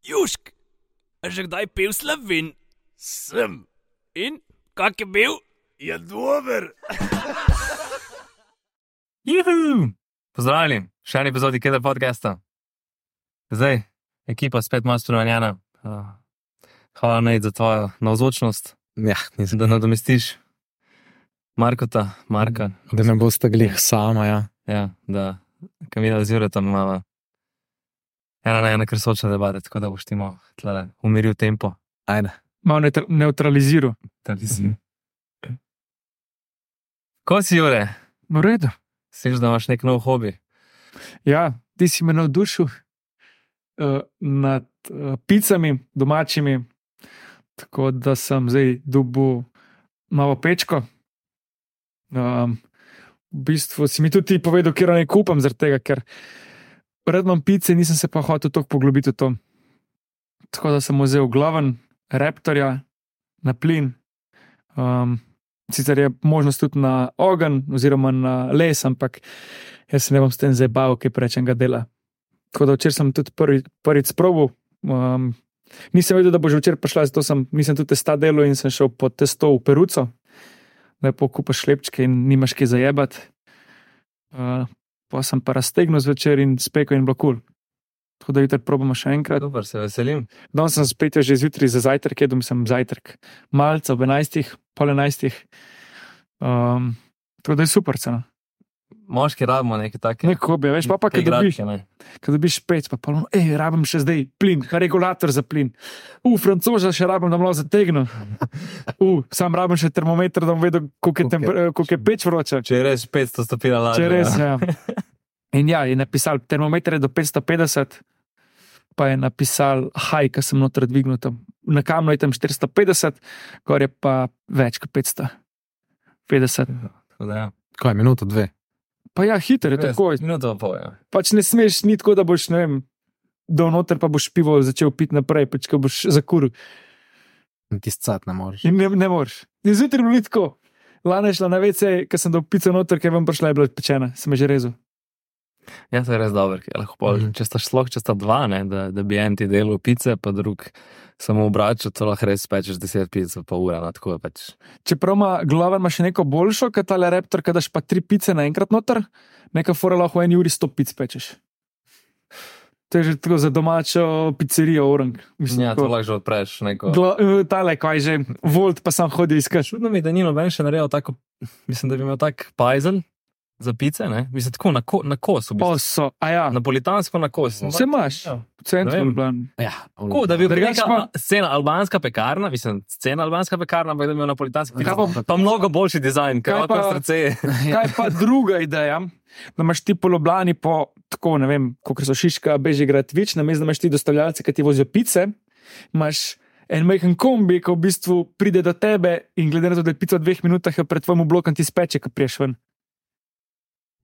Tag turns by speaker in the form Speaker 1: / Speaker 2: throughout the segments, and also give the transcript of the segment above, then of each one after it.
Speaker 1: Južk, a že kdaj pil slovin?
Speaker 2: Sem,
Speaker 1: In kak je bil?
Speaker 2: je dober.
Speaker 3: Juhu! Pozdravljeni, še en epizodi Keda podcasta. Zdaj, ekipa spet malo spremenjena. Uh, Hvala naj za tvojo navzočnost,
Speaker 4: Ja, nisem,
Speaker 3: da nadomestiš Markota, Marka,
Speaker 4: da ne boste glih sama. Ja.
Speaker 3: ja, da Kamila z Juretom imamo ena na ena krsoča debata, tako da boš ti malo tlele umiril tempo.
Speaker 4: Ajde.
Speaker 5: Malo neutra- neutraliziral.
Speaker 3: Ko si Jure,
Speaker 5: V redu.
Speaker 3: sliš, da imaš nek nov hobi.
Speaker 5: Ja, ti si me navdušil uh, nad uh, picami, domačimi. Tako da sem zdaj dubu malo pečko. Um, v bistvu si mi tudi ti povedal, kje ne kupam, zaradi tega, ker rad imam pice, nisem se pa hotel tako poglobiti v to. Tako da sem vzel glaven, reptorja na plin. Um, sicer je možnost tudi na ogen, oziroma na les, ampak jaz se ne bom s tem zabaval, ki prečem ga dela. Tako da včeraj sem tudi prvi, prvič probil. Um, nisem vedel, da bo že včeraj prišla, zato sem, nisem tudi testa delal in sem šel po testo v Peruco, da pokupaš šlepčke in nimaš kaj zajebati. Uh, pa sem pa raztegnil zvečer in spekel in blokul. Tako da jutri probamo še enkrat.
Speaker 3: Super, se veselim.
Speaker 5: Danes sem spet že zjutraj za zajtrk, jedel sem zajtrk, malce ob 11, pol 11. Um, tako da je super cena.
Speaker 3: Moški rabimo nekaj takega.
Speaker 5: Neko bi, veš, pa, pa kaj dobiš. Ko dobiš pec, pa polno, hej, rabim še zdaj plin, regulator za plin. U, francoza še rabim, da malo zategnem. U, sam rabim še termometer, da bom vedel, koliko je, temper- eh, koliko je peč vroče.
Speaker 3: Če je res 500 stopinj lažje.
Speaker 5: Če res. Ja. In ja, je napisal, termometer je do 550, pa je napisal, haj, ki sem noter dvignil tam. Na kamnu je tam 450, gor je pa več kot 550.
Speaker 3: Tako da, ja.
Speaker 4: Kaj, minuto, dve.
Speaker 5: Pa ja, hiter je tako,
Speaker 3: Minuto in pol. Ja.
Speaker 5: pač ne smeš, ni tako, da boš, ne vem, dol noter pa boš pivo začel piti naprej, pač ko boš zakuril.
Speaker 4: Tisti cat ne moreš.
Speaker 5: In ne, ne moreš. In zjutraj je bilo ni tako. Lana je šla na vece, ker sem dal pico noter, ker vam prišla je bila pečena, sem jo že rezal.
Speaker 3: ja, to je res dobro. ker Lahko pol,
Speaker 4: Mhm.
Speaker 3: če sta šlo, če sta dva, ne, da, da bi en ti delal pice, pa drug samo obrača, to lahko res pečeš 10 pic, pa ura, no, tako je pač.
Speaker 5: Čeprav ima glava ima še neko boljšo, kot ta reptor, kaj daš pa tri pice naenkrat noter, neka fora lahko v eni uri sto pic pečeš. To je že tako za domačo pizzerijo, orang. Mislim,
Speaker 3: Ja, to
Speaker 5: tako.
Speaker 3: lahko že odpreš neko.
Speaker 5: Gla, eh, tale, kaj že, volt pa sam hodi iskat.
Speaker 3: Čudno mi je, da ni noben še naredil tako, mislim, da bi imel tak pajzel za pice, ne? mislim, tako na, ko, na kos, v bistvu.
Speaker 5: Poso, a ja,
Speaker 3: napolitansko na kos.
Speaker 5: vse imaš,
Speaker 3: Ja.
Speaker 5: v centru.
Speaker 3: Ne vem.
Speaker 5: je bila.
Speaker 4: Ja,
Speaker 3: Tako, da bi bil
Speaker 5: Drugače
Speaker 3: neka
Speaker 5: pa-
Speaker 3: scena albanska pekarna, mislim, scena albanska pekarna, ampak da bi imel napolitanski
Speaker 5: Kaj
Speaker 3: pico.
Speaker 5: pa-
Speaker 3: Pa mnogo boljši dizajn,
Speaker 5: Kaj
Speaker 3: kaj
Speaker 5: pa-
Speaker 3: pa srce.
Speaker 5: Kaj pa druga ideja, da imaš ti po Ljubljani, po tako ne vem, kot so Šiška, Bežigrad, Vič, namesto da imaš ti dostavljalce, ki ti vozijo pice, imaš en majhen kombi, ki v bistvu pride do tebe in glede na to, da je pica v dveh minutah, jo pred tvojim blokom ti speče, ki priješ ven.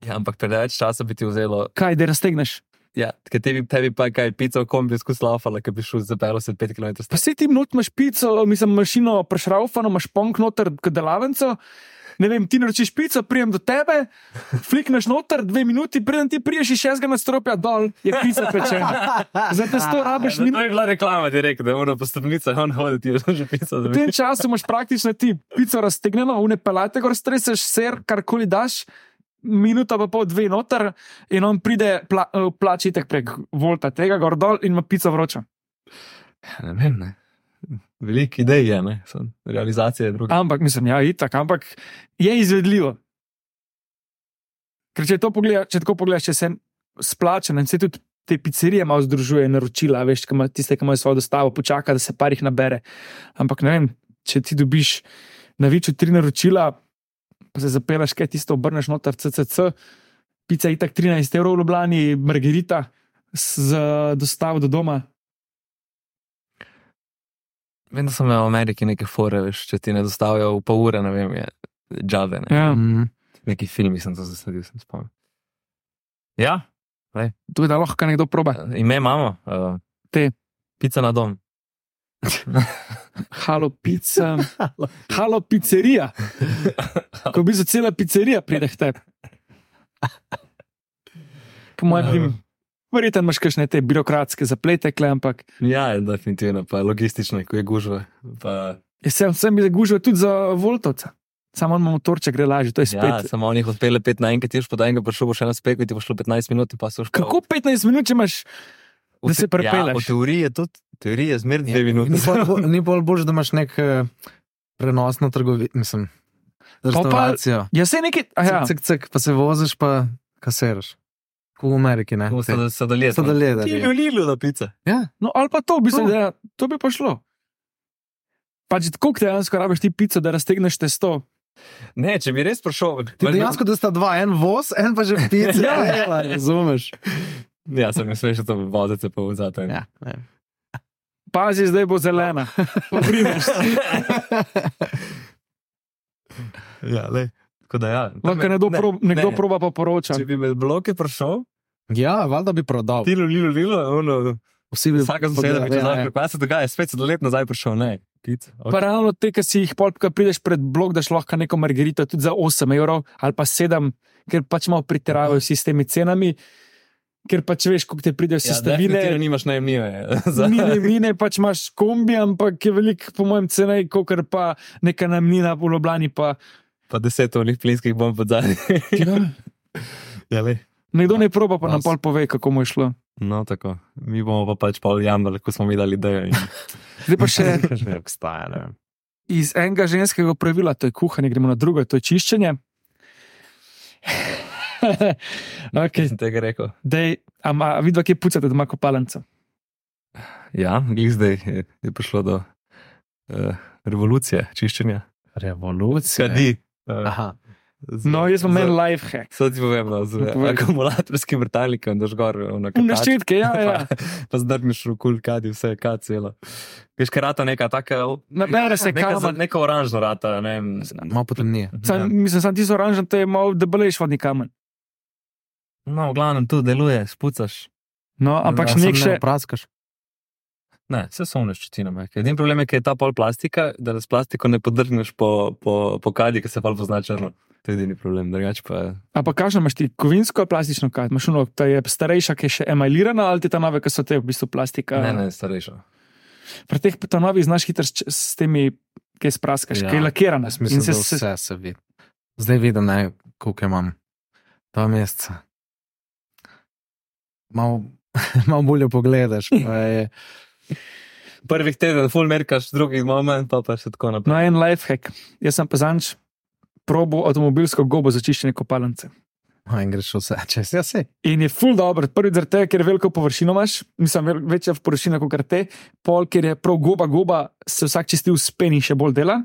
Speaker 3: Ja, ampak preveč časa bi ti vzelo,
Speaker 5: Kaj, da raztegneš?
Speaker 3: Ja, ker tebi, tebi pa kaj pico, kombi skozi lafala, ki bi šel za 55 km.
Speaker 5: Pa se ti not imaš pico, mislim, mašino prešraufano, imaš ponk noter, kot delavnico. Ne vem, ti naročiš pico, prijem do tebe, flikneš noter, dve minuti, preden ti priješ iz šestega nadstropja dol, je pica pečena. Zato sto rabiš
Speaker 3: Ja, no,
Speaker 5: minuto.
Speaker 3: To je bila reklama, ti rekel, da mora po stopnicah on hoditi, že že pico.
Speaker 5: V tem času imaš praktično ti pico raztegnjeno, vne pelate, gor streseš, ser, karkoli daš, minuta pa pol, dve noter, in on pride, pla, eh, plače tek prek volta tega, gor dol in ima pico vroča.
Speaker 3: Ja, Ne vem, ne. Veliko idej je, ne. Sem, realizacija je druga.
Speaker 5: Ampak mislim, ja, itak, ampak je izvedljivo. Ker če, to pogleda, če tako pogledaš, če se splača, in se tudi te pizzerije malo združuje, naročila, veš, ki ima, tiste, ki imajo svojo dostavo, počaka, da se parih nabere. Ampak ne vem, če ti dobiš na večju tri naročila, pa se zapelaš, kaj tisto obrneš noter, CCC, pica je itak 13 evrov v Ljubljani, margarita s- z dostavo do doma.
Speaker 3: Vem, da sem imel v Ameriki neke fore, veš, če ti ne dostavijo v pol ure, ne vem, je džave. Ne.
Speaker 4: Mm.
Speaker 5: Ja.
Speaker 3: Neki filmi sem to zasledil, sem spomnil. Ja,
Speaker 5: To je da lahko nekdo proba.
Speaker 3: ime imamo. Uh,
Speaker 5: Te.
Speaker 3: Pica na dom.
Speaker 5: Halo pica, halo pizzerija. Ko bi za cela pizzerija pride k tebi. Po mojem, bi Verjetno imaš kakšne te birokratske zaplete, kle, ampak
Speaker 3: Ja, definitivno, pa logistično, ko je gužva. Pa,
Speaker 5: jaz sem se mi zagužil tudi za Voltovca. Samo on ima motorček, gre lažje, to je spet.
Speaker 3: ja, samo oni jih odpele 5 naenkrat, ti boš podal enega, prišel boš še na spek, ti bo šlo 15 minut, in pa so še.
Speaker 5: Kako 15 minut če imaš? da se pripelješ?
Speaker 3: Ja, v teoriji je tudi, teorija je zmerno 2
Speaker 4: Ni
Speaker 3: minute.
Speaker 4: bolj, bo- ni bolj bož, da imaš nek eh, prenosno trgovino, mislim, restavracijo.
Speaker 5: Ja, se nekaj. a Ja.
Speaker 4: Cek, cek, cek, pa se voziš, pa kasiraš. Kot v Ameriki, ne?
Speaker 3: Kako so sodelovali? Ti je
Speaker 4: Sladoled.
Speaker 3: bilo na pice.
Speaker 5: No, ali pa to, v bistvu,
Speaker 4: To.
Speaker 5: da, to bi pa šlo. Pač tako dejansko rabiš ti pico, da raztegneš testo.
Speaker 3: Ne, če bi res prišel.
Speaker 4: Ti dejansko da sta dva, en voz, en pa že pica.
Speaker 5: Ja.
Speaker 4: dela, razumeš?
Speaker 3: Ja, sem mislil, da to vodite pa vzate.
Speaker 4: Ja, ne vem.
Speaker 5: Pazi, zdaj bo zelena. Pa primeš.
Speaker 3: ja, lej. Tako da ja.
Speaker 5: Lahko nekdo, prob, nekdo ne. proba pa poroča.
Speaker 3: Če bi med bloke prišel,
Speaker 4: ja valjda bi prodal.
Speaker 3: ti lulilo, lilo, ono.
Speaker 4: Vsi bi
Speaker 3: Vsaka zmeda bi
Speaker 4: Ja,
Speaker 3: te
Speaker 4: ja.
Speaker 3: znal, kaj se dogaja, spet se do let nazaj prišel, ne. Pic,
Speaker 5: Okay. Pa
Speaker 3: okay.
Speaker 5: ravno te, ki si jih polka prideš pred blok, daš lahko neko margarito tudi za 8 evrov ali pa 7, ker pač malo pretiravajo vsi s temi cenami, ker pač veš, koliko te pridejo sestavine.
Speaker 3: Ja, definitivno nimaš ja. najemnine.
Speaker 5: Mine, mine, pač imaš kombi, ampak je veliko, po mojem, cenej, kot pa neka namnina v Ljubljani. Pa,
Speaker 3: pa deset onih plinskih bomb pod zadnji. ja, lej.
Speaker 5: Nekdo ne proba, pa nam
Speaker 3: Nas.
Speaker 5: pol pove, kako mu je šlo.
Speaker 3: no, tako. Mi bomo pa pač pol jamrali, ko smo mi dali idejo. In...
Speaker 5: Zdaj pa še
Speaker 4: Ne obstaja, ne vem.
Speaker 5: iz enega ženskega pravila, to je kuhanje, gremo na drugo, to je čiščenje. okay.
Speaker 3: Sem tega rekel.
Speaker 5: Dej, a ma, a vidva, kje pucate doma kopalnico?
Speaker 3: Ja, glih zdaj je, je prišlo do uh, revolucije, čiščenja.
Speaker 4: Revolucija.
Speaker 3: Kadi. Uh,
Speaker 4: Aha.
Speaker 5: No, jaz imam en life hack.
Speaker 3: Sad ti povem, no, z
Speaker 5: Povej.
Speaker 3: akumulatorskim vrtalnikom, daš gor, ono,
Speaker 5: Umne
Speaker 3: katač,
Speaker 5: ščetke, ja, ja.
Speaker 3: pa, pa zdrgneš v kul, kadi, vse je kad celo. Veš, kaj rata neka taka,
Speaker 5: Nabere se
Speaker 3: neka, za-
Speaker 5: kamen.
Speaker 3: neka oranžna rata, ne vem.
Speaker 4: Malo potem ni.
Speaker 3: ja.
Speaker 5: Sam, mislim, sam ti z oranžen, to je malo debelejši vodni kamen.
Speaker 3: No, v glavnem tu deluje, spucaš.
Speaker 5: No,
Speaker 4: Ja,
Speaker 5: ampak ja,
Speaker 4: samo
Speaker 5: nek še.
Speaker 4: Ne praskaš.
Speaker 3: Ne, vse so vneš četinome. Edini problem je, ker je ta pol plastika, da s plastiko ne podrgneš po, po, po kadi, ki se pol pozna črno. To je edini problem, drugače pa je.
Speaker 5: Ampak kakšno imaš ti, kovinsko ali plastično kad? Imaš ono, ta je starejša, ki je še emajlirana, ali ti ta nove, ki so te v bistvu plastika?
Speaker 3: Ne, ne, starejša.
Speaker 5: Pri teh petanovih znaš hitro s, s temi, ki spraskaš,
Speaker 4: Ja.
Speaker 5: ja. ki je lakirana.
Speaker 4: Jaz mislim,
Speaker 5: In
Speaker 4: se,
Speaker 5: se,
Speaker 4: da vse
Speaker 5: se,
Speaker 4: se vidi. Zdaj vidim, ne, koliko imam. Dva meseca. Malo mal bolje pogledaš. pa Je,
Speaker 3: Prvih teden, full merkaš, drugih moment, pa pa še tako naprej.
Speaker 5: no, en life hack. Jaz sem pa zanč probo avtomobilsko gobo za čiščenje kopalnice.
Speaker 4: no, in greš vse čez. Ja, se.
Speaker 5: In je ful dobro, prvi zaradi tega, ker veliko površino imaš, mislim, vel- večja površina kot te, pol, ker je prav goba, goba se vsak čisti v speni še bolj dela.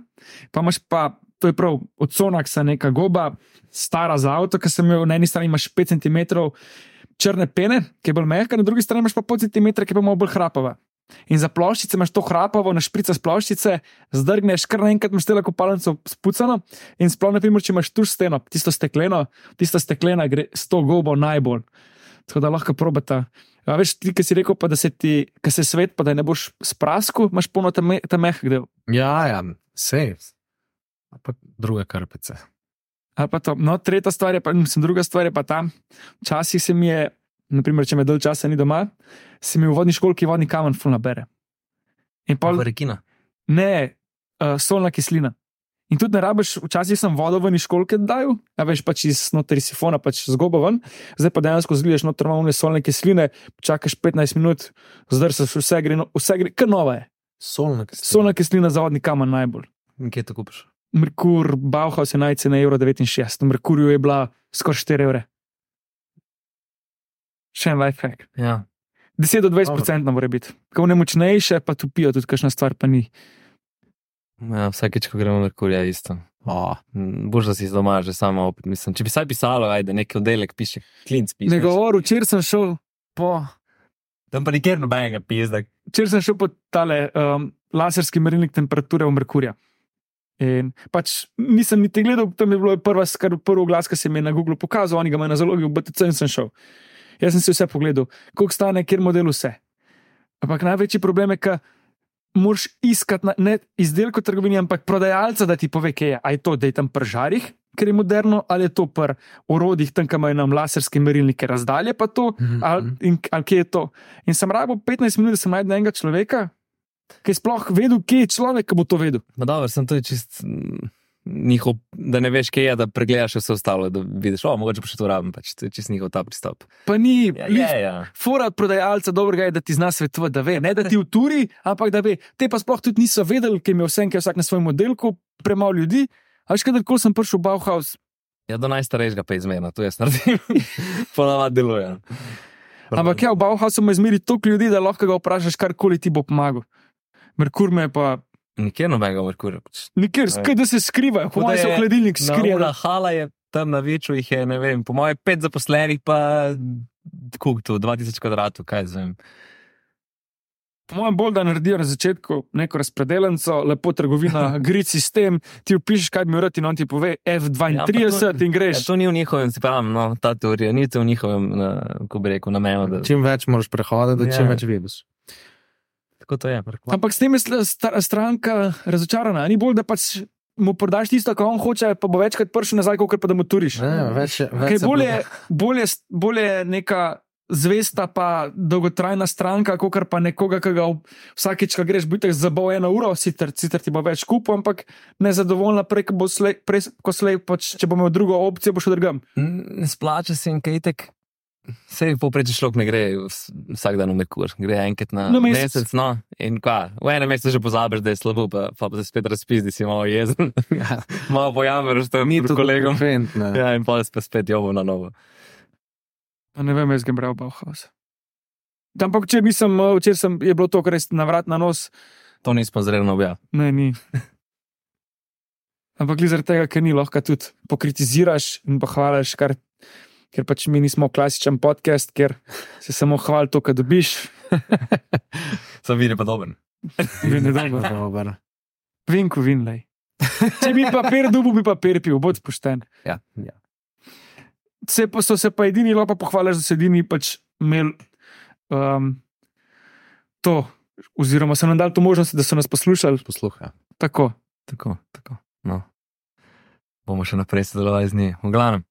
Speaker 5: Pa imaš pa, to je prav, od sonaksa neka goba, stara za avto, ki sem jo na eni strani imaš 5 cm črne pene, ki je bolj mehka, na drugi strani imaš pa pol centimetra, ki je pa malo bolj hrapava. In za ploščice imaš to hrapavo, na šprica s ploščice, zdrgneš, kar naenkrat imaš telo kopalnico spucano. In sploh, na primer, če imaš tu steno, tisto stekleno, tista steklena gre s to gobo najbolj. Tako da lahko probata. A veš, ti, ki si rekel, pa, da se ti, ki se svet, pa da je ne boš sprasku, imaš polno ta, me, ta mehak del.
Speaker 4: Ja, ja, sej. Ampak druge krpice.
Speaker 5: Ali pa to. No, tretja stvar je pa, mislim, druga stvar je pa ta. Včasih se mi je, naprimer, če me dolgo časa ni doma, se mi v vodni školki vodni kamen fulna bere. In pa
Speaker 3: Rekina.
Speaker 5: ne, uh, solna kislina. In tudi ne rabiš, včasih sem vodo ven iz školke dal, a veš pač iz notri sifona, pač zgobo ven, zdaj pa dejansko zgledaš noter malo solne kisline, čakaš 15 minut, zdrsaš vse gre, no, vse gre, kar nova je.
Speaker 4: Solno, ki
Speaker 5: Solna kislina za vodni kamen najbolj.
Speaker 3: Kje to kupiš?
Speaker 5: Merkur, Bauhaus je najcene evro 69, v Merkurju je bila skoraj 4 evre. Še en lifehack.
Speaker 3: Ja.
Speaker 5: 10 do 20 procent mora biti. Ko ne močnejše, pa tupijo, tudi kakšna stvar pa ni.
Speaker 3: ja vsakeč, ko gremo na Merkurja, je isto.
Speaker 4: Oh,
Speaker 3: Mm, Bož, da si doma že samo, op- mislim, če bi saj pisalo, ajde, neki oddelek piše, klinc piše.
Speaker 5: Ne govor, včeraj sem šel po
Speaker 3: Tam pa nikjer nobenega pizda.
Speaker 5: Včeraj sem šel po tale um, laserski merilnik temperature v Merkurju. In pač nisem niti gledal, tam je bila prva, skar prvi glas, ki se mi je na Googlu pokazal, oni ga imajo na zalogi, v BTC in sem šel. Jaz sem si vse pogledal, koliko stane, kjer model vse. Ampak največji problem je, ker moraš iskati na, ne izdelek v trgovini, ampak prodajalca, da ti pove, kje je. A je to, da je tam pržarih, ker je moderno, ali je to pri orodjih, tam, ki imajo nam laserske merilnike razdalje, pa to,
Speaker 4: Mhm.
Speaker 5: ali, in, ali kje je to. In sem rabo 15 minut, da sem najdel enega človeka, ki je sploh vedel, kje je človek, ki bo to vedel.
Speaker 3: Ma dobro, sem to je čist mm, njihov, da ne veš, kje je, da pregledaš vse ostalo, da vidiš, o, mogoče pa še to rabim, pač to je čist njihov ta pristop.
Speaker 5: Pa ni,
Speaker 3: Ja,
Speaker 5: lift,
Speaker 3: je, ja.
Speaker 5: Fora od prodajalca dobrega je, da ti zna svetovati, da ve, ne da ti v turi, ampak da ve. Te pa sploh tudi niso vedeli, ki jim je vsem, ki je vsak na svojem oddelku, premalo ljudi. A še kadarkoli sem prišel v Bauhaus,
Speaker 3: ja, do najstarejšega pa izmena, to jaz naredim. Ponavadi deluje.
Speaker 5: ampak ja, v Bauhausu ima izmeri toliko ljudi, da lahko ga vprašaš, karkoli ti bo pomagal. Merkur me je pa
Speaker 3: Nikjer nobenega Merkurja. pač.
Speaker 5: nikjer,
Speaker 3: Ja.
Speaker 5: skaj, da se skrivajo,
Speaker 3: Tako
Speaker 5: po
Speaker 3: da
Speaker 5: mojem se v
Speaker 3: je
Speaker 5: hladilnik
Speaker 3: Naravna
Speaker 5: skrijejo.
Speaker 3: hala je tam na večju, jih je, ne vem, po mojem, pet zaposlenih, pa koliko to, 2000 kvadratov, kaj zvem.
Speaker 5: Po mojem, bolj da naredijo na začetku neko razpredelenco, lepo trgovina, grid sistem, ti upišeš, kaj bi moral ti, no ti pove F32
Speaker 3: Ja,
Speaker 5: ja,
Speaker 3: ampak
Speaker 5: in
Speaker 3: Ja,
Speaker 5: greš.
Speaker 3: to ni v njihovem, se pravi, no, ta teorija ni to v njihovem, na, ko bi rekel, namenu. Da,
Speaker 4: Čim več moraš prehoditi, da
Speaker 3: Ja.
Speaker 4: čim več vidiš.
Speaker 3: tako to je. prekla-
Speaker 5: Ampak s tem je sla- sta- stranka razočarana. Ni bolj, da pač mu prodaš tisto, kar on hoče, pa bo večkrat prišel nazaj, kot pa da mu turiš.
Speaker 4: Ne, več, je- več
Speaker 5: Kaj
Speaker 4: se
Speaker 5: bolje,
Speaker 4: obljub-
Speaker 5: bolje, s- bolje neka zvesta, pa dolgotrajna stranka, kot pa nekoga, ki ga ob- vsakič, ko greš, biti za bo eno uro, sicer, sicer ti bo več kupo, ampak nezadovoljna, prej, ko bo slej, prej, ko slej pač, če bo imel drugo opcijo, bo šel drugam.
Speaker 3: Mm, Ne splača se jim kaj tek. Vse povprečje šlo, ne gre vs- vsak dan v Merkur, gre enkrat na
Speaker 5: Na mesec.
Speaker 3: mesec. No, in kva, v enem mesecu že pozabiš, da je slabo, pa, pa se spet razpizdi, si malo jezen,
Speaker 4: Ja,
Speaker 3: malo pojameš, da mi tu kolegom.
Speaker 4: Fent, ne.
Speaker 3: Ja, in pa spet spet jovo na novo.
Speaker 5: A Ne vem, jaz sem bral Bauhaus. Tam pa, če nisem, eh, včeraj sem, je bilo to, kar je na vrat na nos,
Speaker 3: To nismo zreli na objav.
Speaker 5: Ne, ni. Ampak glih zaradi tega, ker ni lahko tudi pokritiziraš in pohvališ, kar, ker pač mi nismo klasičen podcast, ker se samo hvali to, kar dobiš.
Speaker 3: Sam vidi pa dober.
Speaker 5: Vin je dobro. no.
Speaker 4: Dober.
Speaker 5: Vinku, vinlej. Če bi papir dubu, bi papir pil, bod pošten.
Speaker 3: Ja, ja.
Speaker 5: Se pa so se pa edini, lahko pa pohvališ, da so edini pač imeli um, to, oziroma so nam dali to možnost, da so nas poslušali.
Speaker 4: Posluha.
Speaker 5: Tako.
Speaker 3: Tako, tako. No. Bomo še naprej sodelovali z njim. V glavnem,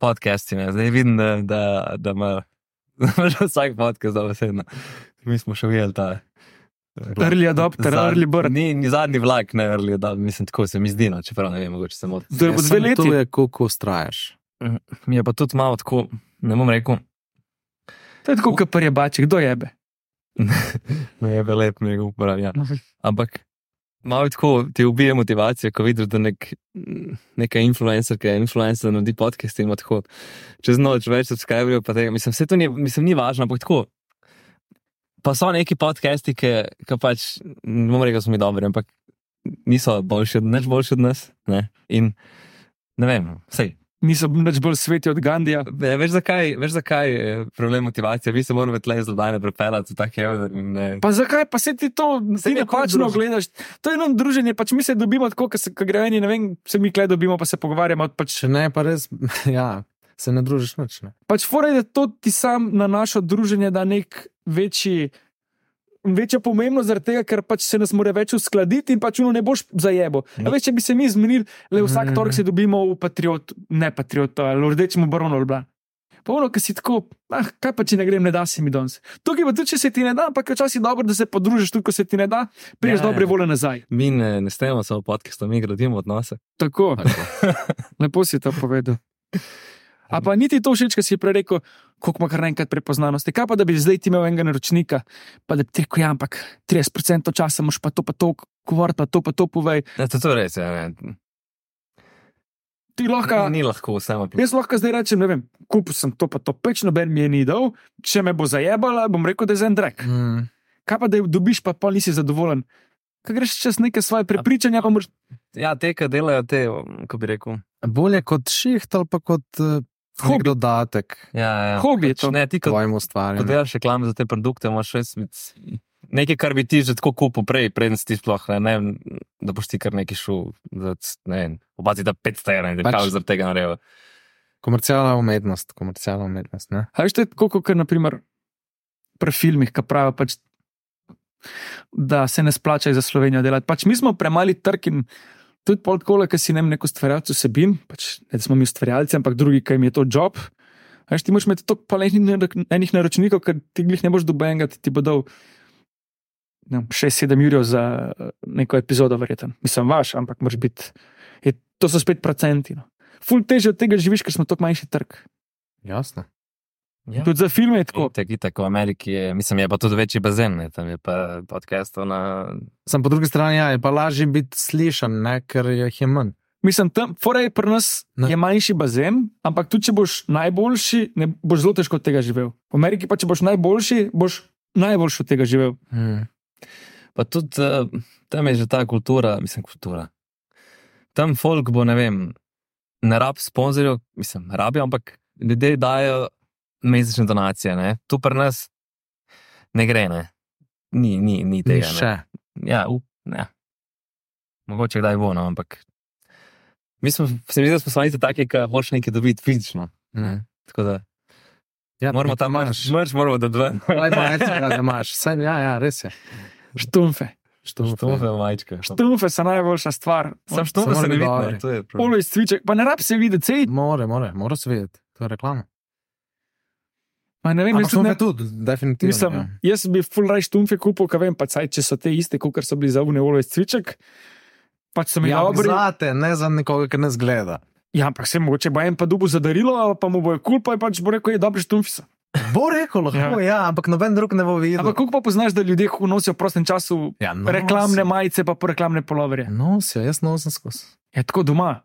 Speaker 3: podcasti. Ne. Zdaj vidim, da, da, da ima da ima že vsak podcast dobesedno. Mi smo še ujeli ta.
Speaker 5: Early adopter,
Speaker 3: Zadnji-
Speaker 5: early bird.
Speaker 3: Ni, ni zadnji vlak, ne early adopter, mislim, tako se mi zdi, no, čeprav ne vem, mogoče se motim.
Speaker 5: To je
Speaker 4: Ja,
Speaker 5: po dve
Speaker 4: samo
Speaker 5: leti.
Speaker 4: To je, koliko ustraješ.
Speaker 3: Mi je pa tudi malo tako, ne bom rekel,
Speaker 5: To je tako, kot prje bači, kdo jebe.
Speaker 3: ne je bil lep, ne ga uporabljam. ja. Ampak malo tako ti ubije motivacijo, ko vidiš, da nek, neka influencerka, influencer naredi podcast in ima tako čez noč več subskriberjev. pa tega. Mislim, vse to ni, mislim, ni važno, ampak tako. Pa so neki podcasti, ki, ki pač, ne bom rekel, da so mi dobri, ampak niso boljši, od- nič boljši od nas. Ne? In ne vem, vse.
Speaker 5: Niso nič bolj sveti od Gandija.
Speaker 3: Ne, veš, zakaj, veš, zakaj je problem motivacije? Vi se morate tle iz zadane prepeljati v tak heaven. in, eh,
Speaker 5: Pa zakaj pa se ti to
Speaker 3: Saj
Speaker 5: ti
Speaker 3: neko
Speaker 5: napačno
Speaker 3: druženje.
Speaker 5: gledaš? To je eno druženje, pač mi se dobimo tako, ker se ko grejo eni, ne vem, se mi kle dobimo, pa se pogovarjamo. Pač,
Speaker 4: Če ne, pa res, ja, se ne družiš nič. Ne.
Speaker 5: pač foraj, da to ti sam na naše druženje da nek večji. Večja pomembnost zaradi tega, ker pač se nas more več uskladiti in pač uno ne boš zajebo.
Speaker 3: Ja.
Speaker 5: A veš, če bi se mi zmenili, le
Speaker 3: Mhm.
Speaker 5: vsak torek se dobimo v patriot, ne patriot, ali v rdečem baronu ali blan. Povno, ki si tako, ah, kaj pa če ne grem, ne da se mi danes. Tukaj pa tudi, če se ti ne da, ampak je včasih dobro, da se podružiš tudi, ko se ti ne da, priješ
Speaker 3: Ja, ja.
Speaker 5: dobre volje nazaj.
Speaker 3: Mi ne, ne stajemo samo podcastom, mi gradimo odnose.
Speaker 5: Tako,
Speaker 4: Tako.
Speaker 5: lepo si to povedal. A pa niti to všeč, kar si prej rekel, koliko ima kar naenkrat prepoznanosti. Kaj pa, da bi zdaj ti imel enega naročnika, pa da bi ti rekel, ja, ampak 30% časa moš pa to, pa to, govor pa to, pa to povej.
Speaker 3: Ja, to, to je res, ja, ne.
Speaker 5: Ti lahko,
Speaker 3: Ni lahko samo pl-
Speaker 5: Jaz lahko zdaj rečem, ne vem, kupil sem to, pa to peč, noben mi je ni dal, če me bo zajebala, bom rekel, da je zen drek.
Speaker 4: Mm.
Speaker 5: Kaj pa, da jo dobiš, pa pa nisi zadovoljen. Kaj greš čez neke svoje prepričanja, pa moraš.
Speaker 3: Ja, te, ki delajo te, um, ko bi rekel.
Speaker 4: Bolje kot šiht ali pa kot uh,
Speaker 5: Hobi.
Speaker 4: nek dodatek
Speaker 3: Ja, ja.
Speaker 5: Hobi je
Speaker 3: Pač
Speaker 5: to.
Speaker 3: Ne, ti,
Speaker 4: k
Speaker 3: ko,
Speaker 4: tvojemu
Speaker 3: ko
Speaker 4: ustvarjanju.
Speaker 3: delaš reklame za te produkte, imaš res mit- nekaj, kar bi ti že tako kupil prej, preden si ti sploh ne, ne vem, da boš ti kar neki šel, da c- ne vem, opazi da 500 evrov, da
Speaker 4: Pač.
Speaker 3: kaj zaradi tega naredijo.
Speaker 4: Komercialna umetnost, komercialna umetnost. Ne?
Speaker 5: A veš, to je tako, kot naprimer pri filmih, ki pravijo, pač, da se ne splača za Slovenijo delati. Pač mi smo premali trg in tudi pol tako, ker si ne vem, neko stvarjalec vsebin, pač ne da smo mi ustvarjalci, ampak drugi, ki jim je to job. Veš, ti moraš imeti toliko pa enih, naro- enih naročnikov, ker ti jih ne boš dobenega, ti, ti bo dal 6-7 jurjev za eh, neko epizodo, verjeten. Mislim, vaš, ampak moraš biti. Je, to so spet procenti. No. Ful teže od tega živiš, ker smo tako manjši trg.
Speaker 4: Jasno.
Speaker 3: Ja.
Speaker 5: Tudi za filme je tako.
Speaker 3: Tako, tako v Ameriki je, mislim, je pa tudi večji bazen, ne? tam je pa podcastov na.
Speaker 4: Sam po drugi strani ja, je pa lažje biti slišan, ne, ker jih je manj.
Speaker 5: Mislim, tam, torej pri nas
Speaker 4: Ne.
Speaker 5: ne. je manjši bazen, ampak tudi če boš najboljši, ne boš zelo težko od tega živel. V Ameriki pa, če boš najboljši, boš najboljši od tega živel.
Speaker 4: Hmm.
Speaker 3: Pa tudi eh, tam je že ta kultura, mislim, kultura. Tam folk bo, ne vem, ne rab sponzorjev, mislim, rabijo, ampak ljudje dajo mesečne donacije. Ne? Tu pri nas ne gre, ne. Ni, ni, ni tega. ne.
Speaker 4: Še.
Speaker 3: Ja, up, ja. Mogoče kdaj bo, no, ampak mi smo, se mi zdi, da smo sami taki, ki hočeš nekaj dobiti fizično.
Speaker 4: Ne.
Speaker 3: Tako da
Speaker 4: Ja,
Speaker 3: moramo tam marš, marš moramo da dva.
Speaker 4: Kaj pa reci, da imaš? Saj, ja, ja, res je.
Speaker 5: Štumfe.
Speaker 3: Štofe, majčka.
Speaker 5: Štumfe so najboljša stvar.
Speaker 3: Sam štofe
Speaker 4: Samo
Speaker 3: se ne vidi,
Speaker 4: dogovori.
Speaker 3: ne, to je problem.
Speaker 5: Polo iz cviček, pa ne rab se videti, cej.
Speaker 4: More, more, mora se vedeti. To je reklama.
Speaker 5: Ma Ne vem,
Speaker 4: Ampak
Speaker 5: jaz
Speaker 4: smo
Speaker 5: tudi
Speaker 4: ga
Speaker 5: ne,
Speaker 4: tudi, definitivno.
Speaker 5: mislim,
Speaker 4: ja.
Speaker 5: jaz bi full raj štumfe kupil, kaj vem, pa saj, če so te iste, kot so bili za unje olo iz cviček. Pač so mi
Speaker 4: Ja,
Speaker 5: dobri.
Speaker 4: Zate, ne za nekoga, ki nas gleda.
Speaker 5: Ja, ampak se mogoče bo en pa dubu zadarilo, pa mu bo je kul, pa je pač bo rekel, je dobri štumfe. so."
Speaker 4: Bo rekel, lahko ja, ja ampak noben drug ne bo videl.
Speaker 5: Ampak koliko pa poznaš, da ljudje ko nosijo v prostem času
Speaker 4: ja, nosim.
Speaker 5: reklamne majice, pa po reklamne poloverje.
Speaker 4: Nosijo, jaz nosim skozi.
Speaker 5: Je tako doma.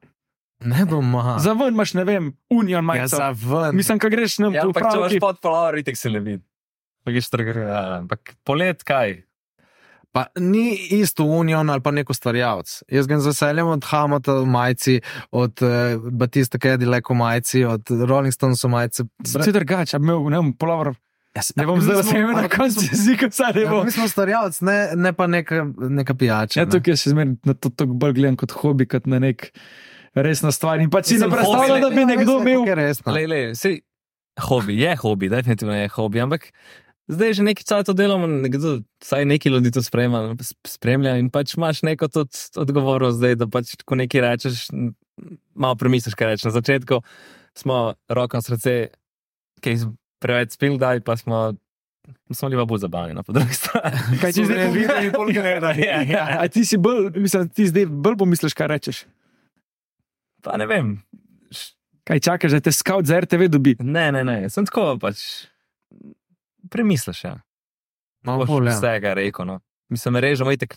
Speaker 4: Ne doma.
Speaker 5: Za ven imaš, ne vem, union
Speaker 4: ja,
Speaker 5: majico.
Speaker 4: za ven.
Speaker 5: Mislim, kaj greš na
Speaker 3: Ja, ampak če imaš
Speaker 5: upravki.
Speaker 3: pod polar, itek se ne vidi. Pa greš trgar, ja, ampak polet kaj?
Speaker 4: Pa ni isto union ali pa neko stvarjavc. Jaz grem z veseljem od Hamata v majici, od uh, Batista Kedileka v majici, od Rolling Stones v majici.
Speaker 5: Vse drugače, a bi imel, ne vem, polover.
Speaker 4: Jaz,
Speaker 5: Ne bom zdaj vse na koncu jezika, saj ne
Speaker 4: Ja,
Speaker 5: bom.
Speaker 4: mi smo starjavci, ne, ne pa neka, neka pijača.
Speaker 5: Ja,
Speaker 4: ne.
Speaker 5: tukaj še zmeraj na to tako bolj gledam kot hobi, kot na nek resno stvar. In pa si ne
Speaker 3: Mislim,
Speaker 5: predstavljam,
Speaker 3: hobi,
Speaker 5: da bi
Speaker 4: Ja,
Speaker 5: nekdo
Speaker 4: res je,
Speaker 5: imel.
Speaker 4: kako je Resno.
Speaker 3: Lej, lej, sej, hobi, je hobi, definitivno je hobi, ampak zdaj že nekaj časa to delamo, nekdo, saj neki ljudi to sprema, s- spremlja in pač imaš neko tudi odgovornost zdaj, da pač ko nekaj rečeš, m, malo premisliš, kaj rečeš. Na začetku smo roko na srce, ki je preveč spil, daj pa smo. Smo bili pa bolj zabavni, no, po drugi strani.
Speaker 5: Kaj ti zdaj
Speaker 3: videl, koliko ne da je.
Speaker 5: Ja, a ti si bolj, mislim, ti zdaj bolj pomisliš, kaj rečeš.
Speaker 3: Pa ne vem. Š-
Speaker 5: Kaj čakaš, da te scout za RTV dobi?
Speaker 3: Ne, ne, ne, sem tako pač. Premisliš, ja.
Speaker 4: Malo
Speaker 3: boš
Speaker 4: bolj, ja.
Speaker 3: vsega rekel. No. Mislim, režemo itek.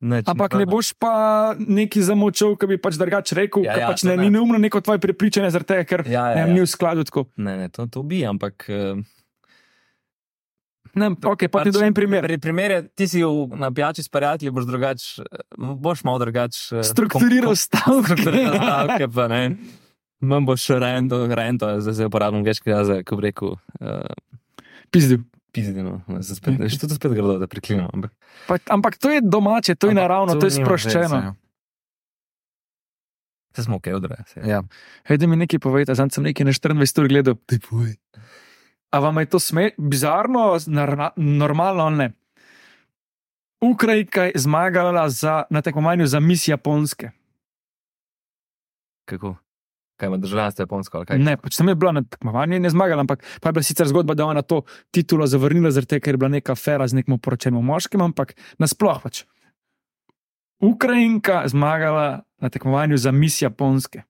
Speaker 3: Nič, no,
Speaker 5: Ampak ne boš pa neki zamočil, ki bi pač drugače rekel,
Speaker 3: Ja,
Speaker 5: ja, ja,
Speaker 3: ja,
Speaker 5: pač
Speaker 3: to
Speaker 5: ne,
Speaker 3: ne.
Speaker 5: ni neumno neko tvoje prepričanje, zaradi tega, ker
Speaker 3: Ja, ja,
Speaker 5: ne, vem, ni
Speaker 3: ja.
Speaker 5: v skladu tako.
Speaker 3: Ne, ne, to, to bi, ampak. eh,
Speaker 5: Ne, okay, pa ti do en primer.
Speaker 3: Pri primeru, ti si v- na pijači s prijatelji, boš drugače, eh, boš malo drugače. eh,
Speaker 5: Strukturiral stavke.
Speaker 3: Strukturiral stavke, pa ne. Manj boš rendo, rendo, zdaj se uporabljam greški jaz, ko bi rekel, uh,
Speaker 5: Pizdil.
Speaker 3: pizdino. Se spet, ne, to spet grdo, da preklinjam. Ampak
Speaker 5: Pa, ampak to je domače, to je
Speaker 4: Ampak
Speaker 5: naravno, to je
Speaker 4: nima veze,
Speaker 5: sproščeno.
Speaker 4: ja.
Speaker 3: se smo ok, odre. Se.
Speaker 4: Ja.
Speaker 5: Hej, da mi nekaj povejte, zdaj sem nekaj na 24 ur gledal. A vam je to sme, bizarno, narna, normalno ali ne? Ukrajinka je zmagala za, na tekmovanju za mis Japonske.
Speaker 3: Kako? Kaj ima državljanstvo japonsko ali kaj?
Speaker 5: Kaj? Ne, pač tam je bila na tekmovanju in je zmagala, ampak pa je bila sicer zgodba, da je ona to titulo zavrnila, zaradi tega, ker je bila neka afera z nekim poročenim moškim, ampak nasploh pač. Ukrajinka zmagala na tekmovanju za mis Japonske.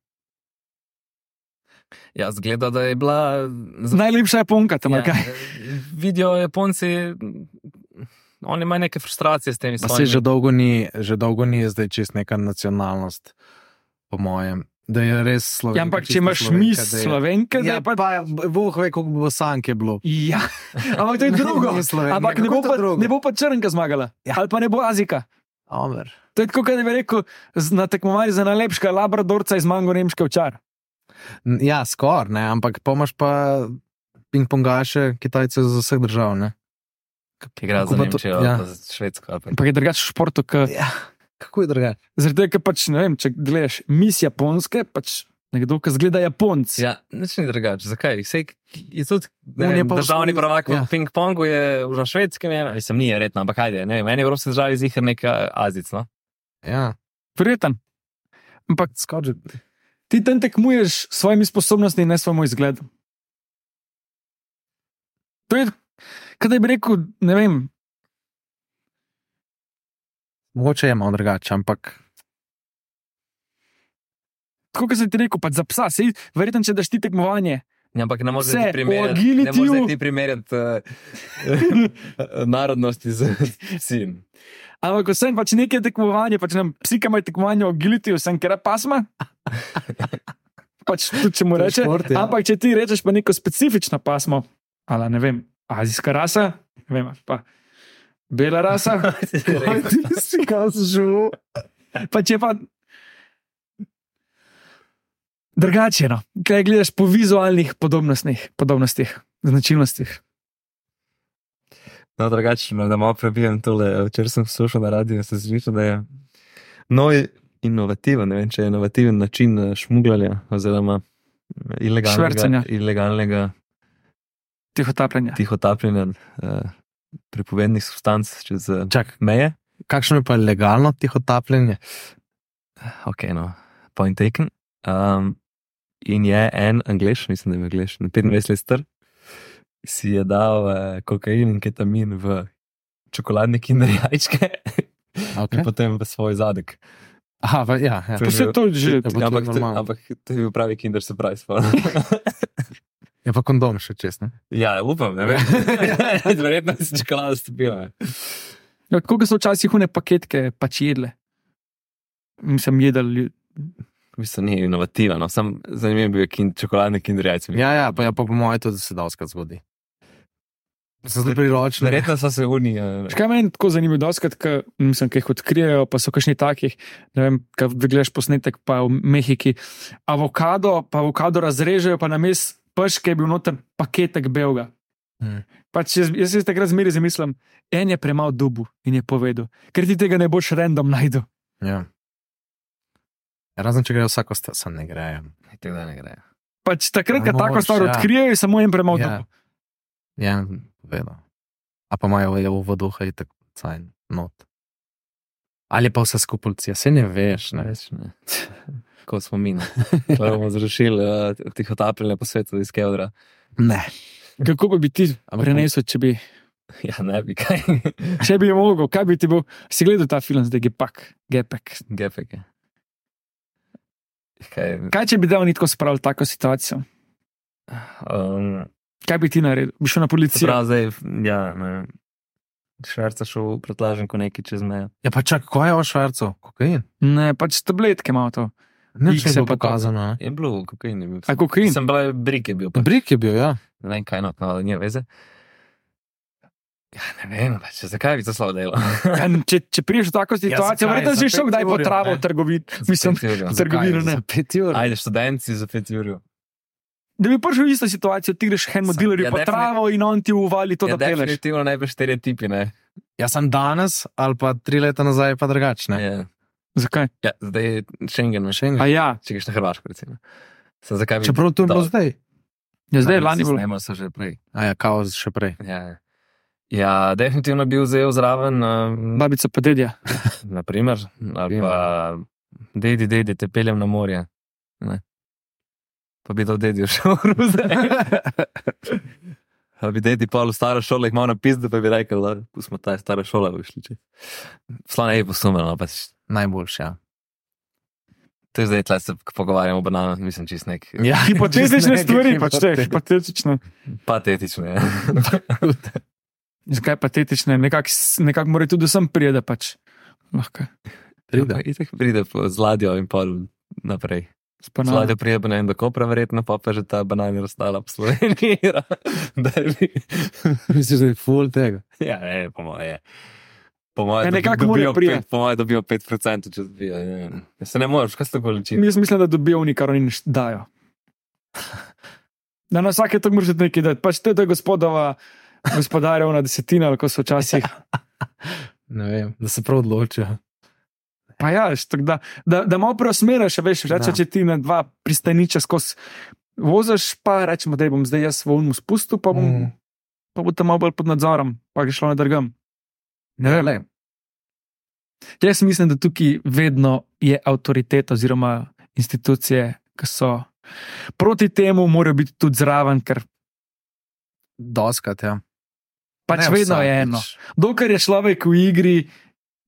Speaker 3: Ja, zgleda, da je bila.
Speaker 5: Najlepša Japonka tam,
Speaker 3: Ja,
Speaker 5: ja. kaj?
Speaker 3: eh, vidijo Japonci, m, oni imajo neke frustracije s temi
Speaker 4: Pa se
Speaker 3: stvarmi.
Speaker 4: že dolgo ni, že dolgo ni zdaj čist neka nacionalnost, po mojem. Da je res slovenka.
Speaker 5: Ja, ampak če
Speaker 4: čista
Speaker 5: imaš
Speaker 4: Slovenka,
Speaker 5: mis
Speaker 4: da je-
Speaker 5: Slovenke, da
Speaker 4: Ja,
Speaker 5: je
Speaker 4: pa,
Speaker 5: pa
Speaker 4: pa boh ve, koliko bo sanke bilo.
Speaker 5: Ja, ampak to je drugo.
Speaker 4: Ni Slovenija.
Speaker 5: Ampak ne
Speaker 4: Kako
Speaker 5: bo,
Speaker 4: je to
Speaker 5: pa,
Speaker 4: drugo?
Speaker 5: ne bo pa črnka zmagala, ja. ali pa ne bo Azika.
Speaker 4: Omer.
Speaker 5: To je tako, kot da bi rekel, z- na tekmovanju za najlepšega labradorca iz Mango Nemške včar.
Speaker 4: N- Ja, skor, ne, ampak pomaš pa ping-pongaše Kitajcev iz vseh držav. Ne?
Speaker 3: Ki igra
Speaker 4: Kako
Speaker 3: za
Speaker 4: pa to-
Speaker 3: Nemčijo,
Speaker 4: ja.
Speaker 3: ja. za Švedsko. ali pa-
Speaker 5: Ampak je drugače v športu, ker
Speaker 4: Ja, kako je drugače?
Speaker 5: zaradi tega, ker pač ne vem, če gledaš mis Japonske, pač nekdo, ki zgleda Japonc.
Speaker 3: Ja, nič ni drugače. Zakaj? Sej, je tudi ne
Speaker 4: On je
Speaker 3: vem,
Speaker 4: pa v
Speaker 3: državni
Speaker 4: svoji-
Speaker 3: prvak
Speaker 4: ja.
Speaker 3: v ping-pongu, je v- na švedskem, je, mislim, ni je redno, ampak kaj je. V eni evropski državi zihar neka azic. No?
Speaker 4: Ja.
Speaker 5: Prijeten. Ampak ti tam tekmuješ s svojimi sposobnostmi, ne s svojim izgledom. To je, kaj bi rekel, ne vem,
Speaker 4: Mogoče je malo drugače, ampak
Speaker 5: tako kot sem ti rekel, pač za psa. Sej, verjetno, če daš ti tekmovanje,
Speaker 6: Ja, ampak ne moreš
Speaker 5: Vse,
Speaker 6: ti
Speaker 5: o
Speaker 6: primerjati, ne
Speaker 5: agilityju.
Speaker 6: moreš ti primerjati uh,
Speaker 3: eh,
Speaker 6: narodnosti z psim.
Speaker 5: Ampak vsem pač nekaj tekmovanja, pač nam psika imajo tekmovanje o gilitiju, sem kera pasma. pač tudi če mu
Speaker 4: To je
Speaker 5: reče.
Speaker 4: šport, ja.
Speaker 5: Ampak če ti rečeš pa neko specifično pasmo, ali ne vem, azijska rasa, ne vem, pa bela rasa,
Speaker 4: si kaj zžul.
Speaker 5: pa če pa. Drugače, je, no. kaj gledaš po vizualnih podobnostih, podobnostih značilnostih.
Speaker 3: No, drugačno, da malo prebijem tole. eh, Včeraj sem slušal na radiju in sem slišal, da je nov inovativen, ne vem, če je inovativen način eh, šmugljanja oziroma eh,
Speaker 5: Švercanja.
Speaker 3: ilegalnega, ilegalnega
Speaker 5: Tihotapljanja.
Speaker 3: tihotapljenja eh, prepovednih substanc čez eh,
Speaker 4: Čak,
Speaker 3: meje.
Speaker 4: kakšno je pa legalno tihotapljenje?
Speaker 3: Ok, no, point taken. Um, in je en angliš, mislim, da je bil angliš, 25 let star, si je dal uh, kokain in ketamin v čokoladne kinderjajčke in
Speaker 4: Okay.
Speaker 3: potem v svoj zadek.
Speaker 4: Aha, pa, ja, ja.
Speaker 5: Pa se to že.
Speaker 4: Ja, bo to
Speaker 3: ampak, to,
Speaker 4: normalno.
Speaker 3: ampak to je bil pravi kinder surprise. pa.
Speaker 4: Je pa kondom še čest. Ne?
Speaker 3: ja, upam, ne vem. Verjetno si čokolada stopila.
Speaker 5: Ja, Kako so včasih hune paketke pač jedle? Mislim, jedel.
Speaker 3: Mislim, ni inovativen, no. sam zanimiv je bil kin, čokoladne kinderjajce.
Speaker 4: Ja, ja, pa, ja, pa po mojem tudi se doskrat zgodi. Sem zelo priročen.
Speaker 3: Verjetno so se eh, unije.
Speaker 4: Ja.
Speaker 5: Škaj meni tako zanimivo, doskrat, ker mislim, ki jih odkrijejo, pa so kakšni takih, ne vem, kaj gledaš posnetek, pa v Mehiki, avokado, pa avokado razrežejo, pa na mest peške je bil noter paketek belga.
Speaker 4: Mm.
Speaker 5: Pač jaz, jaz se takrat zmeri zamislim, en je premalo dubu in je povedal, ker ti tega ne boš random najdel.
Speaker 4: Ja. Razen če grejo vsako stvar, sem ne ja. grejo.
Speaker 3: Tega ne gre.
Speaker 5: Pač takrat, ko
Speaker 4: Ja,
Speaker 5: tako
Speaker 4: mogoče,
Speaker 5: stvar
Speaker 4: ja.
Speaker 5: odkrijejo, je samo en premalo
Speaker 4: Ja.
Speaker 5: dubu.
Speaker 4: Ja, vedno. A pa imajo levo v duha in tako cajn, not. Ali pa vse skupaj policija, se ne veš. Ne?
Speaker 3: Več ne. Ko smo mi, ko bomo zrušili uh, tihotapljenje po svetu iz Kevdra.
Speaker 4: ne.
Speaker 5: Kako pa bi ti prenesel, če bi
Speaker 3: Ja, ne bi kaj.
Speaker 5: Če bi mogel, kaj bi ti bil, si gledal ta film, zdaj je pak, gepek.
Speaker 3: Gepeke. Kaj,
Speaker 5: Kaj če bi dal nitko spravil tako situacijo?
Speaker 3: um,
Speaker 5: Kaj bi ti naredil? Bi šel na policijo.
Speaker 3: prav zdaj, ja, ne. vem. Švarca šel v pretlažen, ko neki čez mejo.
Speaker 4: Ja, pa čak, kaj je o švarcu? Kokain.
Speaker 5: Ne, pač tabletke imamo to.
Speaker 4: Ne,
Speaker 5: X
Speaker 4: če se
Speaker 5: je
Speaker 4: bo
Speaker 5: pa to.
Speaker 4: pokazano. ne.
Speaker 3: Je bilo, kokain je bil.
Speaker 5: A kokain?
Speaker 3: Sem bila, brik je bil. Pa.
Speaker 4: Brik je bil, ja.
Speaker 3: Ne vem, kaj not, no, ali nije veze. Ja, ne vem, pač, zakaj bi to slabo delo.
Speaker 5: Ja, če, če priješ v tako
Speaker 3: Ja,
Speaker 5: situacijo,
Speaker 4: zakaj?
Speaker 5: verjetno
Speaker 4: Za
Speaker 5: si že šel
Speaker 4: pet
Speaker 5: kdaj po
Speaker 4: jurjev,
Speaker 5: travo v
Speaker 4: ne.
Speaker 5: trgovini. Mislim, trgovino ne.
Speaker 3: Ajde, študenti za pet ur.
Speaker 5: Da bi prišel v isto situacijo, ti greš k enemu
Speaker 3: Sam-
Speaker 5: dealerju
Speaker 3: ja,
Speaker 5: po
Speaker 3: defini-
Speaker 5: travo in on ti uvali to,
Speaker 3: Ja,
Speaker 5: da peleš.
Speaker 3: definitivno najprej štirje tipi, ne.
Speaker 4: Jaz Ja, sem danes ali pa tri leta nazaj, pa drugačne.
Speaker 3: Ja.
Speaker 5: Zakaj?
Speaker 3: Ja, zdaj je Schengen, ne.
Speaker 5: A ja,
Speaker 3: če greš na Hrvaško. Recimo. Sem zakaj bi
Speaker 4: Čeprav to je bilo
Speaker 3: Da.
Speaker 4: zdaj.
Speaker 5: ja zdaj je lani bilo.
Speaker 3: Ne, so že prej.
Speaker 4: A ja, kao še prej.
Speaker 3: Ja, ja definitivno bi vzel zraven, um,
Speaker 5: Babica pa dedja.
Speaker 3: naprimer, ali pa dedi, dedi, te peljem na morje. Ne. Pa bi to dedi šel v Ruze. Pa bi dedi pa v staro šolo, jih malo napisal, pa bi rekel, da smo ta stara šola, bi šli. Slane je posumljeno, pa
Speaker 4: Najboljša. Ja.
Speaker 3: pač, to je zdaj, tle se pogovarjamo o bananah, mislim, čist nek
Speaker 4: Ja,
Speaker 5: Hipotetične
Speaker 4: čisto
Speaker 5: stvari,
Speaker 4: nekaj
Speaker 5: pač te,
Speaker 4: hipotetično.
Speaker 5: hipotetične.
Speaker 3: patetične.
Speaker 5: Zakaj patetične? Nekako nekak mora tudi sem prije, da pač. Lahko.
Speaker 4: Pride.
Speaker 3: In tako pride po- z ladjo in pol naprej.
Speaker 5: no.
Speaker 3: Z ladjo pride pa ne vem, do Kopra, verjetno pa pa že ta banana razstala po Sloveniji. Derbi.
Speaker 4: Misliš, da je full tega.
Speaker 3: ja, ne, po moje. je. Po moje
Speaker 5: Ja,
Speaker 3: dobi-
Speaker 5: nekako
Speaker 3: dobijo
Speaker 5: morajo priti.
Speaker 3: pet- Po moje dobijo 5%, če dobijo. ne vem. Ja, Se ne moreš, kaj se tako loči.
Speaker 5: Jaz mislim, da dobijo oni, kar oni ne dajo. Da no, na vsake to moraš nekaj dati. Pač to je ta gospodova, gospodarjevna desetina, ali ko so včasih. Ja.
Speaker 4: Ne vem, da se prav odločijo.
Speaker 5: Pa ja, veš, tako da, da, da malo preusmeriš, a veš, reče,
Speaker 4: Da.
Speaker 5: če ti na dva pristaniča skozi voziš, pa rečemo, da bom zdaj jaz v unmu spustil, pa bom, mm.
Speaker 4: Mm.
Speaker 5: pa bom tam malo bolj pod nadzorom, pa greš šlo na drgam. Ne vem,
Speaker 4: Glej,
Speaker 5: Torej, Jaz mislim, da tukaj vedno je avtoriteta oziroma institucije, ki so proti temu, morajo biti tudi zraven, ker
Speaker 4: Doskrat, ja.
Speaker 5: pač ne, vedno je eno. Dokler je človek v igri,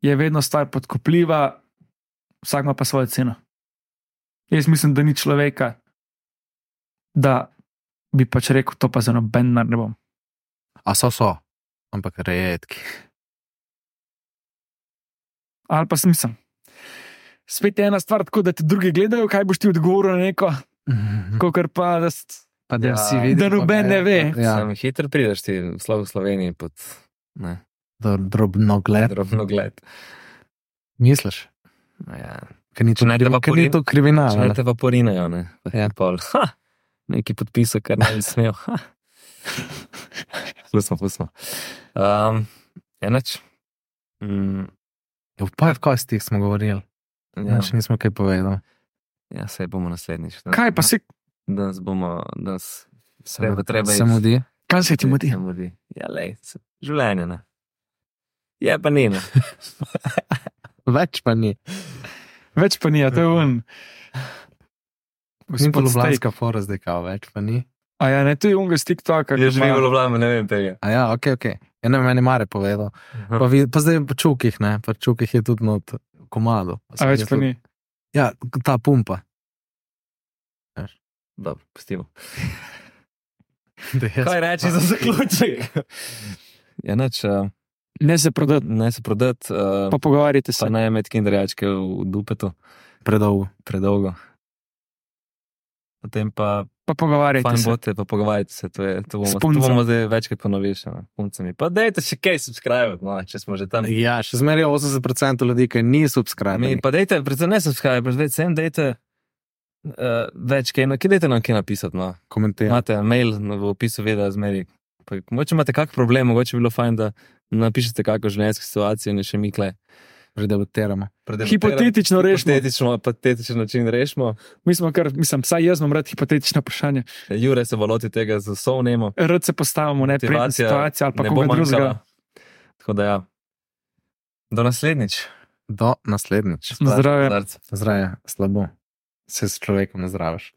Speaker 5: je vedno stvar podkopljiva, vsak ima pa svojo ceno. Jaz mislim, da ni človeka, da bi pač rekel, to pa za noben denar ne bom.
Speaker 4: A so so, ampak redki.
Speaker 5: Ali pa sem sem. Spet je ena stvar, tako da ti drugi gledajo, kaj boš ti odgovoril na neko, kot pa da s-
Speaker 4: Pa da
Speaker 3: Ja,
Speaker 4: vsi vidijo.
Speaker 5: da
Speaker 4: pa
Speaker 5: noben ne ve.
Speaker 4: Ja,
Speaker 3: Sam hitro prideš ti v Slo- v Sloveniji pod ne,
Speaker 4: da drobno gled.
Speaker 3: drobno gled.
Speaker 4: Misliš,
Speaker 3: No Ja.
Speaker 4: ker ni to,
Speaker 3: Če ne, da pa
Speaker 4: ker ni
Speaker 3: pori-
Speaker 4: to kriminal.
Speaker 3: Če
Speaker 4: ali?
Speaker 3: ne te pa porinajo, ne. Ja. Pol, ha, neki podpisal, kar ne bi smel. ha. Pustimo, pustimo. Um, Enač. Mm,
Speaker 4: Ja, V Five Costih smo govorili,
Speaker 3: ja,
Speaker 4: ja. še nismo kaj povedali.
Speaker 3: ja, se bomo naslednjič. Da-
Speaker 5: Kaj pa si,
Speaker 3: Danes bomo, danes treba, treba
Speaker 4: se
Speaker 3: iti.
Speaker 4: mudi.
Speaker 5: kaj se ti mudi?
Speaker 3: Se mudi. Ja, lej, se, življenje ne. Je pa ni. ne.
Speaker 4: Več pa ni.
Speaker 5: Več pa ni, a to je un.
Speaker 4: Ni pa
Speaker 5: Gospod Steak.
Speaker 4: ljubljanska fora zdaj, kao več pa ni.
Speaker 5: A ja, ne, to je unga s TikToka. ki
Speaker 3: Jaz živim
Speaker 5: ima-
Speaker 3: v Ljubljani, ne vem tega.
Speaker 4: A ja, ok, ok. Ja, ne, meni mare povedal. Pa, vi, pa zdaj po čukih, ne, po čukih je tudi not komado.
Speaker 5: A več pa ni.
Speaker 4: Ja, ta pumpa.
Speaker 3: Dobro, pustimo.
Speaker 4: Da
Speaker 5: Ja,
Speaker 4: jaz-
Speaker 3: Kaj reči za zaključek? ja, nač, uh,
Speaker 5: Ne se prodati,
Speaker 3: ne se prodati, uh,
Speaker 5: pa pogovarjate se.
Speaker 3: pa naj med kinderjačke v dupetu,
Speaker 4: Predolgo.
Speaker 3: predolgo. Potem pa
Speaker 5: Pa pogovarjajte
Speaker 3: fajn
Speaker 5: se.
Speaker 3: bote, pa pogovarjajte se, to, je, to, bomo,
Speaker 5: S
Speaker 3: to
Speaker 5: punco.
Speaker 3: bomo zdaj večkrat ponovili. še, no, s puncami. Pa dajte še kaj subskrbeti, no, če smo že tam.
Speaker 4: Ja, še zmeraj je 80% ljudi, ki ni
Speaker 3: Mi,
Speaker 4: subskrbljeni.
Speaker 3: pa dajte, predvsem ne subskrbite, predvsem sem dajte uh, več kaj, no, kaj dajte nam kaj napisati. No.
Speaker 4: Komentirajte.
Speaker 3: Imate mail no, v opisu, vedno zmeri. Pa, mogoče imate kak problem, mogoče bi bilo fajn, da napišete kakšno življenjsko situacijo in še mi kle.
Speaker 4: Predebatiramo.
Speaker 5: Hipotetično rešimo.
Speaker 3: Hipotetično, patetičen način rešimo.
Speaker 5: Mi smo kar, mislim, vsaj jaz imam rad hipotetična vprašanja.
Speaker 3: Jure se valoti tega z vso vnemo.
Speaker 5: Rad se postavimo v neprijetno
Speaker 3: Motivacija
Speaker 5: situacijo ali pa
Speaker 3: Ne bo
Speaker 5: koga drugega.
Speaker 3: manjkala. Tako da ja. Do naslednjič.
Speaker 4: Do naslednjič.
Speaker 5: Na zdravje.
Speaker 3: Starc.
Speaker 4: Zdravje, slabo. Se s človekom ne zdraviš.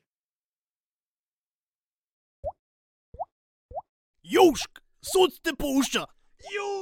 Speaker 1: Južk, sod te pušča. Južk.